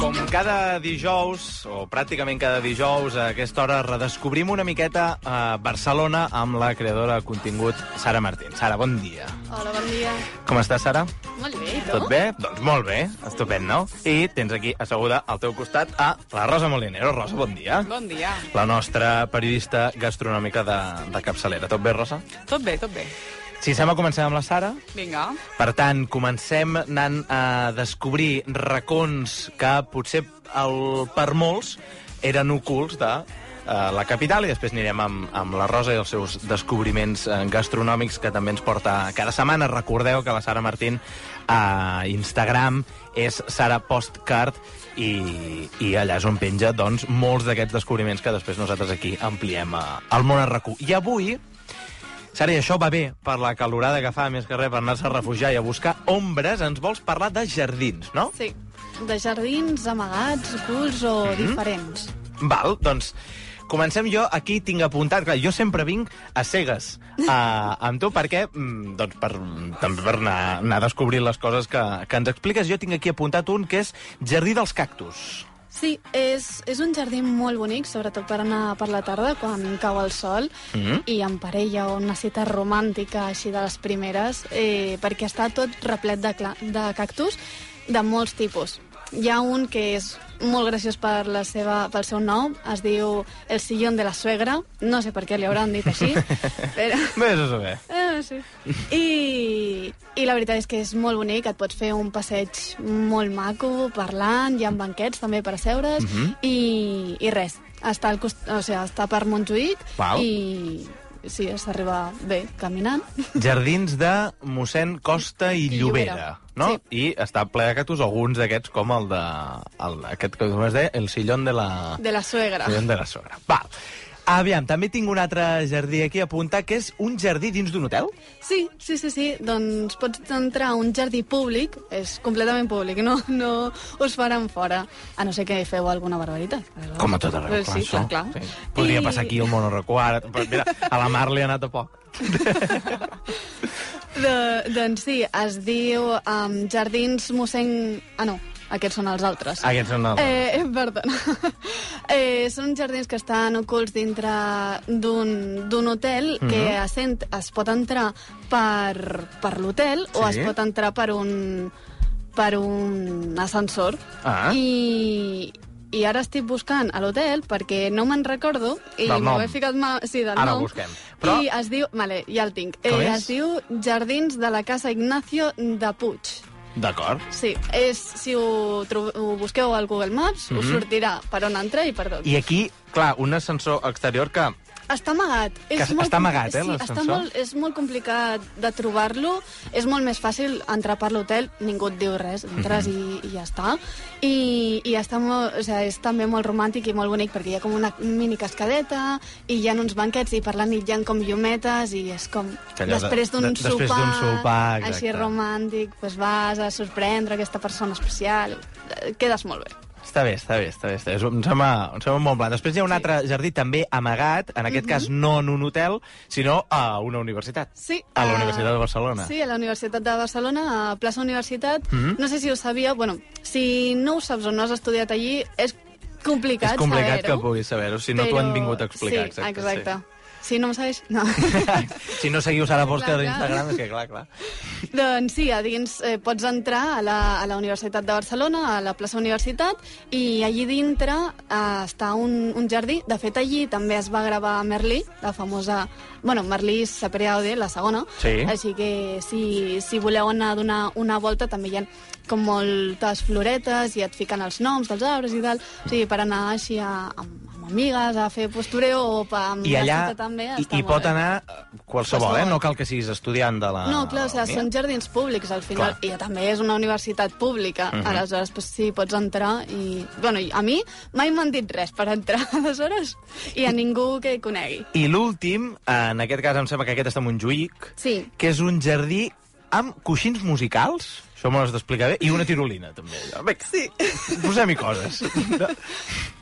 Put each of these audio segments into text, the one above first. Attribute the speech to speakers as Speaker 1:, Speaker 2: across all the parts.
Speaker 1: Com cada dijous, o pràcticament cada dijous, a aquesta hora redescobrim una miqueta a Barcelona amb la creadora de contingut Sara Martín. Sara, bon dia.
Speaker 2: Hola, bon dia.
Speaker 1: Com estàs, Sara?
Speaker 2: Molt bé, i tu?
Speaker 1: Tot bé? Doncs molt bé, estupend, no? I tens aquí asseguda al teu costat a la Rosa Molinero. Rosa, bon dia.
Speaker 3: Bon dia.
Speaker 1: La nostra periodista gastronòmica de, de capçalera. Tot bé, Rosa?
Speaker 3: Tot bé, tot bé.
Speaker 1: Si sembla, comencem amb la Sara.
Speaker 3: Vinga.
Speaker 1: Per tant, comencem anant a descobrir racons que potser el, per molts eren ocults de eh, la capital i després anirem amb, amb la Rosa i els seus descobriments eh, gastronòmics que també ens porta cada setmana. Recordeu que la Sara Martín a Instagram és Sara Postcard i, i allà és on penja doncs, molts d'aquests descobriments que després nosaltres aquí ampliem eh, al món a RAC1. I avui Sara, i això va bé per la calorada que fa, més que res, per anar-se a refugiar i a buscar ombres. Ens vols parlar de jardins, no?
Speaker 2: Sí. De jardins amagats, ocults o diferents.
Speaker 1: Val, doncs comencem jo. Aquí tinc apuntat, clar, jo sempre vinc a cegues a, amb tu perquè, mm, doncs, per, també per anar, anar descobrint les coses que, que ens expliques. Jo tinc aquí apuntat un que és Jardí dels Cactus.
Speaker 2: Sí, és, és un jardí molt bonic, sobretot per anar per la tarda, quan cau el sol,
Speaker 1: Mhm.
Speaker 2: i en parella o una cita romàntica així de les primeres, eh, perquè està tot replet de, cla- de cactus de molts tipus. Hi ha un que és molt graciós per la seva, pel seu nom, es diu El sillón de la suegra, no sé per què li hauran dit així, però...
Speaker 1: Vés a saber.
Speaker 2: Ah, sí. I, I la veritat és que és molt bonic, et pots fer un passeig molt maco, parlant, hi ha banquets també per asseure's,
Speaker 1: Mhm.
Speaker 2: i, i res, està, al cost... o sigui, està per Montjuïc
Speaker 1: Val.
Speaker 2: i sí, s'arriba bé caminant.
Speaker 1: Jardins de mossèn Costa i
Speaker 2: I
Speaker 1: Llobera,
Speaker 2: Llobera,
Speaker 1: no? I està ple de cactus, alguns d'aquests, com el de... El, aquest que com es deia, el sillón de la...
Speaker 2: De la suegra.
Speaker 1: Collons de la sogra. Va. Aviam, també tinc un altre jardí aquí a apuntar, que és un jardí dins d'un hotel.
Speaker 2: Sí, sí, sí, sí, doncs pots entrar a un jardí públic, és completament públic, no, no us faran fora, a no ser que feu alguna barbaritat.
Speaker 1: Com a tota tot arreu,
Speaker 3: Doncs sí,
Speaker 1: això.
Speaker 3: clar, clar.
Speaker 1: Sí. Podria
Speaker 2: I-
Speaker 1: passar aquí el monoracó ara. Però mira, a la Mar li ha anat a poc.
Speaker 2: De, doncs sí, es diu um, Jardins Mossèn... Ah, no, aquests són els altres.
Speaker 1: Aquests són els...
Speaker 2: Eh, eh, perdona. eh, són jardins que estan ocults dintre d'un d'un hotel que assent, es pot entrar per, per l'hotel o
Speaker 1: Sí.
Speaker 2: es pot entrar per un, per un ascensor.
Speaker 1: Ah.
Speaker 2: I, I ara estic buscant a l'hotel perquè no me'n recordo i
Speaker 1: Del
Speaker 2: m'ho
Speaker 1: nom.
Speaker 2: he ficat... Ma... Sí, del
Speaker 1: Ara ho
Speaker 2: nom.
Speaker 1: busquem. Però-
Speaker 2: I es diu... Vale, ja el tinc. Eh,
Speaker 1: Com és?
Speaker 2: es diu Jardins de la Casa Ignacio de Puig.
Speaker 1: D'acord.
Speaker 2: Sí, és, si ho, tro- ho busqueu al Google Maps, mm
Speaker 1: Mhm.
Speaker 2: -hmm. us sortirà per on entra i per tot. I...
Speaker 1: I aquí, clar, un ascensor exterior que...
Speaker 2: Està amagat.
Speaker 1: Que està amagat, eh,
Speaker 2: sí, està
Speaker 1: l'ascensor?
Speaker 2: molt, és molt complicat de trobar-lo. És molt més fàcil entrar per l'hotel, ningú et diu res, entres
Speaker 1: Mhm.
Speaker 2: mm -hmm. i, i ja està. I, i està molt, o sigui, és també molt romàntic i molt bonic, perquè hi ha com una mini cascadeta, i hi ha uns banquets, i per la nit hi ha com llumetes, i és com...
Speaker 1: Que allò de-
Speaker 2: després d'un
Speaker 1: de- després d'un
Speaker 2: sopar,
Speaker 1: sopar, exacte.
Speaker 2: així romàntic, doncs vas a sorprendre aquesta persona especial, eh, quedes molt bé.
Speaker 1: Està bé, està bé, està bé. Està bé. És un- Em, sembla, em sembla molt blanc. Després hi ha un altre jardí també amagat, en aquest cas no en un hotel, sinó a una universitat.
Speaker 2: Mhm. Sí,
Speaker 1: A la Universitat de Barcelona.
Speaker 2: Sí, a la Universitat de Barcelona, a Plaça Universitat.
Speaker 1: Mhm.
Speaker 2: No sé si ho sabia, bueno, si no ho saps o no has estudiat allí, és complicat
Speaker 1: És complicat que
Speaker 2: saber-ho.
Speaker 1: puguis saber-ho, si no t'ho han vingut a explicar.
Speaker 2: Sí, exacte. Si no em sabeix, no.
Speaker 1: Sí. Si no seguiu Sara Posca
Speaker 2: Clar, clar.
Speaker 1: d'Instagram, és que clar, clar.
Speaker 2: doncs sí, a dins eh, pots entrar a la, a la Universitat de Barcelona, a la plaça Universitat, i allí dintre eh, està un, un jardí. De fet, allí també es va gravar Merlí, la famosa... Bueno, Merlí Sapriaude, la segona.
Speaker 1: Sí.
Speaker 2: Així que si, si voleu anar a donar una volta també hi ha com moltes floretes i et fiquen els noms dels arbres i tal. O sigui, per anar així a, amb, amb amigues, a fer postureo o pa- amb
Speaker 1: I
Speaker 2: la
Speaker 1: allà
Speaker 2: cita també.
Speaker 1: hi,
Speaker 2: està
Speaker 1: hi
Speaker 2: molt
Speaker 1: pot
Speaker 2: bé.
Speaker 1: anar eh, qualsevol, eh?
Speaker 2: Qualsevol.
Speaker 1: No cal que siguis estudiant de la...
Speaker 2: No, clar, o sigui,
Speaker 1: Ah, Mira.
Speaker 2: són jardins públics al final,
Speaker 1: Clar. Mhm.
Speaker 2: i també és una universitat pública, aleshores pues, sí, pots entrar i... Bueno, i a mi mai m'han dit res per entrar, aleshores, i a ningú que conegui.
Speaker 1: I l'últim, en aquest cas em sembla que aquest està a Montjuïc,
Speaker 2: Sí.
Speaker 1: que és un jardí amb coixins musicals, això m'ho has d'explicar bé, i una tirolina, també. Vinga, sí. posem-hi coses.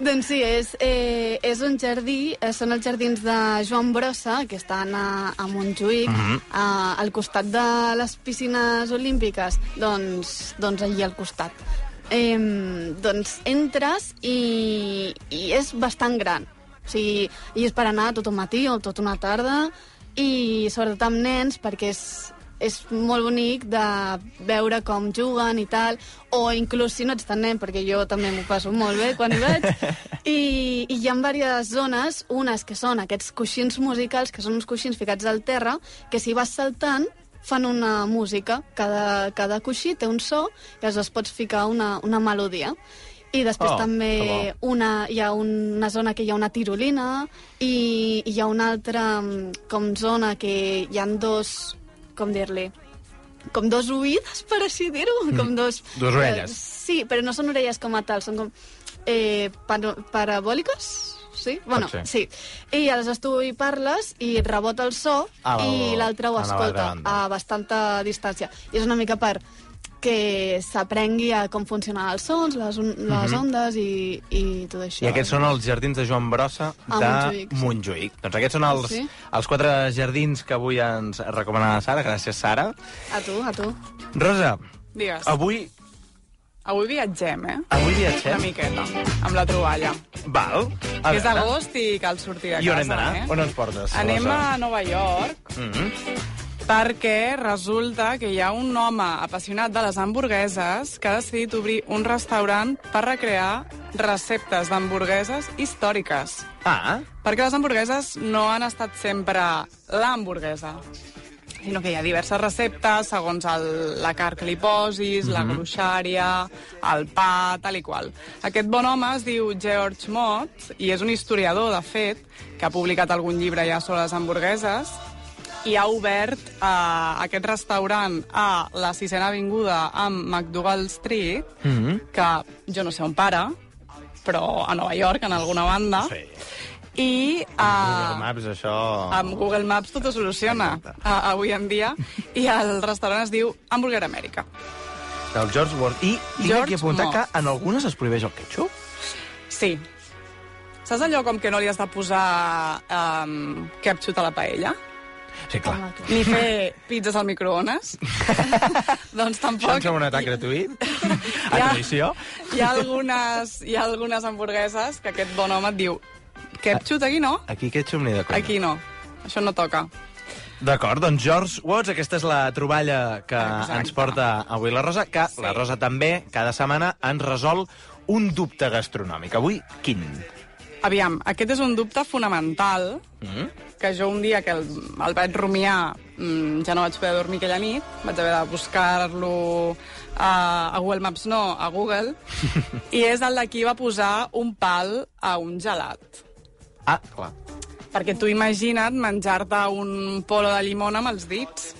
Speaker 2: Doncs sí, és, eh, és un jardí, eh, són els jardins de Joan Brossa, que estan a, a Montjuïc,
Speaker 1: Mhm.
Speaker 2: a, al costat de les piscines olímpiques, doncs, doncs allí al costat. Eh, doncs entres i, i és bastant gran. O sigui, i és per anar tot un matí o tot una tarda, i sobretot amb nens, perquè és, és molt bonic de veure com juguen i tal, o inclús si no ets tan nen, perquè jo també m'ho passo molt bé quan hi vaig, i, i hi ha diverses zones, unes que són aquests coixins musicals, que són uns coixins ficats al terra, que si vas saltant fan una música, cada, cada coixí té un so i es pots ficar una, una melodia. I després
Speaker 1: Oh, que
Speaker 2: també
Speaker 1: bo.
Speaker 2: una, hi ha un- una zona que hi ha una tirolina i, i hi ha una altra mm, com zona que hi han dos, com dir-li, com dos oïdes, per així dir-ho, com dos...
Speaker 1: Mm. Dos orelles.
Speaker 2: Eh, sí, però no són orelles com a tal, són com eh, pano- parabòliques, sí? Bueno,
Speaker 1: ser.
Speaker 2: sí. I aleshores tu hi parles i rebota el so
Speaker 1: A la-
Speaker 2: i l'altre ho
Speaker 1: a la altra
Speaker 2: escolta
Speaker 1: banda.
Speaker 2: a bastanta distància. I és una mica per que s'aprengui a com funcionen els sons, les, on les ondes i, i tot això.
Speaker 1: Mhm. I aquests són els jardins de Joan Brossa
Speaker 2: A
Speaker 1: de
Speaker 2: Ah, Montjuïc, sí.
Speaker 1: Montjuïc. Doncs aquests són els,
Speaker 2: Sí.
Speaker 1: els quatre jardins que avui ens recomana la Sara. Gràcies, Sara.
Speaker 2: A tu, a tu.
Speaker 1: Rosa,
Speaker 3: Digues.
Speaker 1: avui,
Speaker 3: Avui viatgem, eh?
Speaker 1: avui
Speaker 3: Una
Speaker 1: viatgem.
Speaker 3: miqueta, amb la troballa.
Speaker 1: Val. A
Speaker 3: Que és
Speaker 1: veure.
Speaker 3: agost i cal sortir de casa,
Speaker 1: I on hem d'anar?
Speaker 3: eh?
Speaker 1: On ens portes?
Speaker 3: Anem
Speaker 1: Rosa?
Speaker 3: a Nova York
Speaker 1: Mhm.
Speaker 3: perquè resulta que hi ha un home apassionat de les hamburgueses que ha decidit obrir un restaurant per recrear receptes d'hamburgueses històriques.
Speaker 1: Ah,
Speaker 3: Perquè les hamburgueses no han estat sempre la hamburguesa, sinó que hi ha diverses receptes segons el, la carn que li posis, la gruixària, el pa, tal i qual. Aquest bon home es diu George Mott i és un historiador, de fet, que ha publicat algun llibre ja sobre les hamburgueses i ha obert eh, aquest restaurant a la sisena avinguda amb McDougall Street,
Speaker 1: Mm-hmm.
Speaker 3: que jo no sé on para, però a Nova York, en alguna banda.
Speaker 1: sí.
Speaker 3: I
Speaker 1: Ah. Google
Speaker 3: uh,
Speaker 1: Maps, això...
Speaker 3: amb Google Maps tot ho soluciona uh,
Speaker 1: Exacte.
Speaker 3: avui en dia. I el restaurant es diu Hamburger Amèrica.
Speaker 1: Del George Ward. I tinc
Speaker 3: George
Speaker 1: aquí apuntat
Speaker 3: Mott.
Speaker 1: que en algunes es prohibeix el ketchup.
Speaker 3: Sí. Saps allò com que no li has de posar um, ketchup a la paella?
Speaker 1: Sí, clar.
Speaker 2: Home, clar.
Speaker 3: Ni fer pizzas al microones? doncs
Speaker 1: Això
Speaker 3: tampoc.
Speaker 1: em sembla un atac gratuït. A
Speaker 3: Ja.
Speaker 1: tradició.
Speaker 3: Hi ha, algunes, hi ha algunes hamburgueses que aquest bon home et diu ketchup aquí no,
Speaker 1: Aquí ketchup ni de compte.
Speaker 3: aquí no. Això no toca.
Speaker 1: D'acord, doncs George Watts, aquesta és la troballa que
Speaker 3: Ah, Exacte.
Speaker 1: ens porta avui la Rosa, que
Speaker 3: Sí.
Speaker 1: la Rosa també cada setmana ens resol un dubte gastronòmic. Avui, quin?
Speaker 3: Aviam, aquest és un dubte fonamental
Speaker 1: Mm?
Speaker 3: que jo un dia que el, el vaig rumiar mm, ja no vaig poder dormir aquella nit, vaig haver de buscar-lo a, a Google Maps, no, a Google, i és el de qui va posar un pal a un gelat.
Speaker 1: Ah, clar.
Speaker 3: Perquè tu imagina't menjar-te un polo de llimona amb els dits,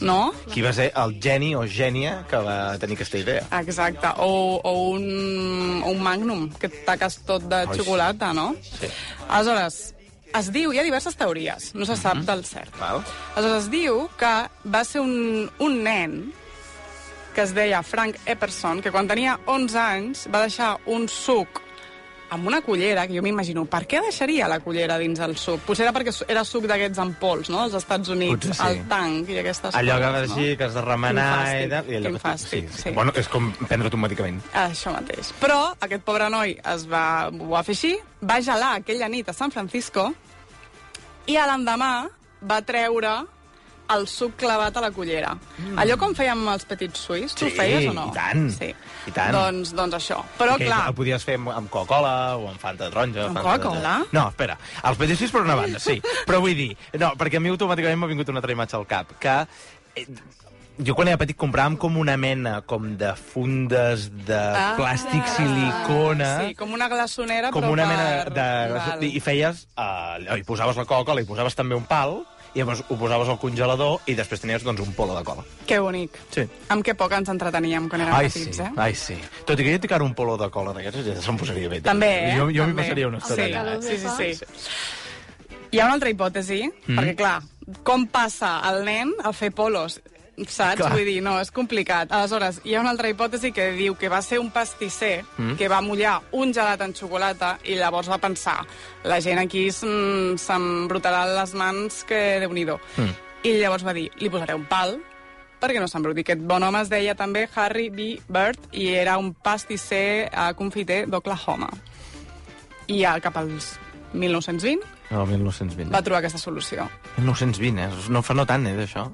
Speaker 3: no?
Speaker 1: Qui va ser el geni o gènia que va tenir aquesta idea?
Speaker 3: Exacte, o, o un, o un magnum, que et taques tot de
Speaker 1: Ai, sí.
Speaker 3: xocolata, no?
Speaker 1: Sí.
Speaker 3: Aleshores, es diu, hi ha diverses teories, no se sap
Speaker 1: Mhm.
Speaker 3: del cert.
Speaker 1: Val.
Speaker 3: Aleshores, es diu que va ser un, un nen que es deia Frank Epperson, que quan tenia 11 anys va deixar un suc amb una cullera, que jo m'imagino, per què deixaria la cullera dins el suc? Potser era perquè su- era suc d'aquests en pols, no?, dels Estats Units,
Speaker 1: Potser sí.
Speaker 3: el tanc i aquestes
Speaker 1: Allò que va
Speaker 3: coses,
Speaker 1: així,
Speaker 3: no?
Speaker 1: que has de remenar...
Speaker 3: Quin fàstic,
Speaker 1: i tal, i allò
Speaker 3: quin
Speaker 1: que-
Speaker 3: fàstic, sí.
Speaker 1: Bueno, és com prendre-t'ho un medicament.
Speaker 3: Això mateix. Però aquest pobre noi es va, ho va fer així, va gelar aquella nit a San Francisco i a l'endemà va treure el suc clavat a la cullera. Mm. Allò com fèiem amb els petits suís, tu
Speaker 1: Sí,
Speaker 3: ho feies o no?
Speaker 1: i tant,
Speaker 3: Sí.
Speaker 1: i tant.
Speaker 3: Doncs, doncs això. Però,
Speaker 1: que
Speaker 3: clar,
Speaker 1: El podies fer amb, amb Coca-Cola o amb Fanta taronja.
Speaker 3: Amb
Speaker 1: Fanta de-
Speaker 3: Coca-Cola?
Speaker 1: No, espera. Els patissos per una banda, sí. Però vull dir... No, perquè a mi automàticament m'ha vingut una altra imatge al cap, que eh, jo quan era petit compràvem com una mena com de fundes de ah, plàstic silicona
Speaker 3: Sí, com una glaçonera,
Speaker 1: com
Speaker 3: Ah, però
Speaker 1: una
Speaker 3: per...
Speaker 1: mena de...
Speaker 3: Val.
Speaker 1: de I feies... eh, allò, hi posaves la coca, li posaves també un pal, i llavors ho posaves al congelador i després tenies doncs, un polo de cola.
Speaker 3: Que bonic.
Speaker 1: Sí.
Speaker 3: Amb que poc ens entreteníem quan érem
Speaker 1: Ai, sí,
Speaker 3: petits, eh?
Speaker 1: ai, sí. Tot i que jo tinc ara un polo de cola d'aquests, ja se'm posaria bé.
Speaker 3: També, eh?
Speaker 1: Jo, jo m'hi
Speaker 3: També.
Speaker 1: passaria una estona.
Speaker 3: Sí,
Speaker 1: allà, eh?
Speaker 3: Sí, sí, sí. Hi ha una altra hipòtesi, mm. perquè, clar, com passa el nen al fer polos?
Speaker 1: Clar.
Speaker 3: Saps? Clar. Vull dir, no, és complicat. Aleshores, hi ha una altra hipòtesi que diu que va ser un pastisser mm. que va mullar un gelat en xocolata i llavors va pensar, la gent aquí mm, s'embrutarà les mans que déu nhi mm. I llavors va dir, li posaré un pal perquè no s'embruti. Aquest bon home es deia també Harry B. Bird i era un pastisser eh, confiter d'Oklahoma. I ja cap als 1920
Speaker 1: El 1920.
Speaker 3: va trobar aquesta solució.
Speaker 1: 1920, eh? No fa no tant, eh, d'això.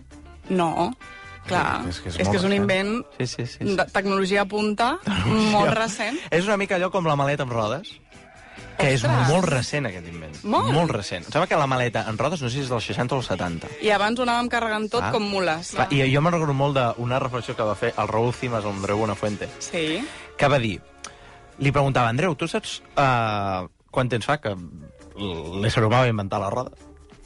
Speaker 3: No, clar,
Speaker 1: Sí, és que és
Speaker 3: és,
Speaker 1: molt
Speaker 3: que és un
Speaker 1: recent.
Speaker 3: invent
Speaker 1: Sí, sí, sí. sí.
Speaker 3: de tecnologia punta molt recent.
Speaker 1: És una mica allò com la maleta amb rodes, que és
Speaker 3: Ostres.
Speaker 1: molt recent, aquest invent.
Speaker 3: Molt.
Speaker 1: Molt recent. Em sembla que la maleta amb rodes, no sé si és del 60 o el 70.
Speaker 3: I abans ho anàvem carregant tot
Speaker 1: Ah.
Speaker 3: com mules.
Speaker 1: Clar, I jo me'n recordo molt d'una reflexió que va fer el Raúl Cimas, el Andreu Buenafuente,
Speaker 3: Sí,
Speaker 1: que va dir... Li preguntava, Andreu, tu saps uh, quant temps fa que l'ésser humà va inventar la roda?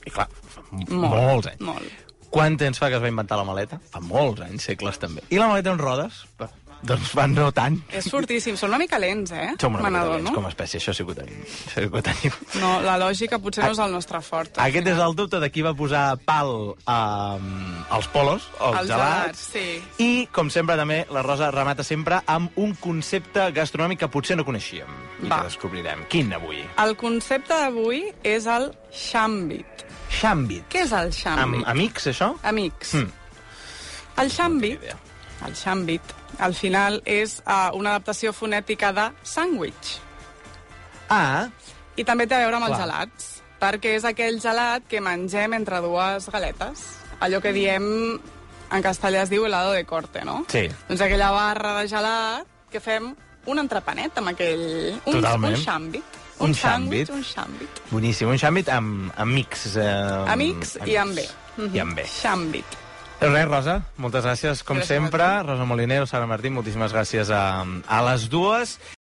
Speaker 1: I clar, fa m-
Speaker 3: molt.
Speaker 1: molts anys.
Speaker 3: Molt.
Speaker 1: Quant temps fa que es va inventar la maleta? Fa molts anys, segles també. I la maleta amb rodes? Bé, Doncs va no tant.
Speaker 3: És fortíssim. Són una mica lents, eh?
Speaker 1: Som una
Speaker 3: Me
Speaker 1: mica
Speaker 3: n'adono.
Speaker 1: dolents com a espècie, això sí que ho tenim. Això sí que ho tenim.
Speaker 3: No, la lògica potser no és el nostre fort.
Speaker 1: Aquest és el dubte de qui va posar pal um, als polos, als
Speaker 3: Els
Speaker 1: gelats.
Speaker 3: gelats, sí.
Speaker 1: I, com sempre, també, la Rosa remata sempre amb un concepte gastronòmic que potser no coneixíem. I
Speaker 3: Va.
Speaker 1: que descobrirem. Quin avui?
Speaker 3: El concepte d'avui és el xàmbit.
Speaker 1: Xambit.
Speaker 3: Què és el xàmbit?
Speaker 1: Amb amics, això?
Speaker 3: Amics.
Speaker 1: Mm.
Speaker 3: El xàmbit,
Speaker 1: idea.
Speaker 3: el xàmbit, al final és uh, una adaptació fonètica de sàndwich.
Speaker 1: Ah,
Speaker 3: I també té a veure amb els
Speaker 1: Clar.
Speaker 3: gelats, perquè és aquell gelat que mengem entre dues galetes. Allò que diem, en castellà es diu helado de corte, no?
Speaker 1: Sí.
Speaker 3: Doncs aquella barra de gelat que fem un entrepanet amb aquell... Un,
Speaker 1: Totalment.
Speaker 3: Un xàmbit.
Speaker 1: Un xàmbit.
Speaker 3: sàndwich, Un xàmbit.
Speaker 1: boníssim. Un xambit amb amics. Eh,
Speaker 3: Amics i amb Mhm. bé.
Speaker 1: I amb bé.
Speaker 3: Xàmbit.
Speaker 1: Doncs res, Rosa, moltes gràcies, com
Speaker 3: Gràcies a
Speaker 1: sempre. Rosa Molinero, Sara Martín, moltíssimes gràcies a, a les dues.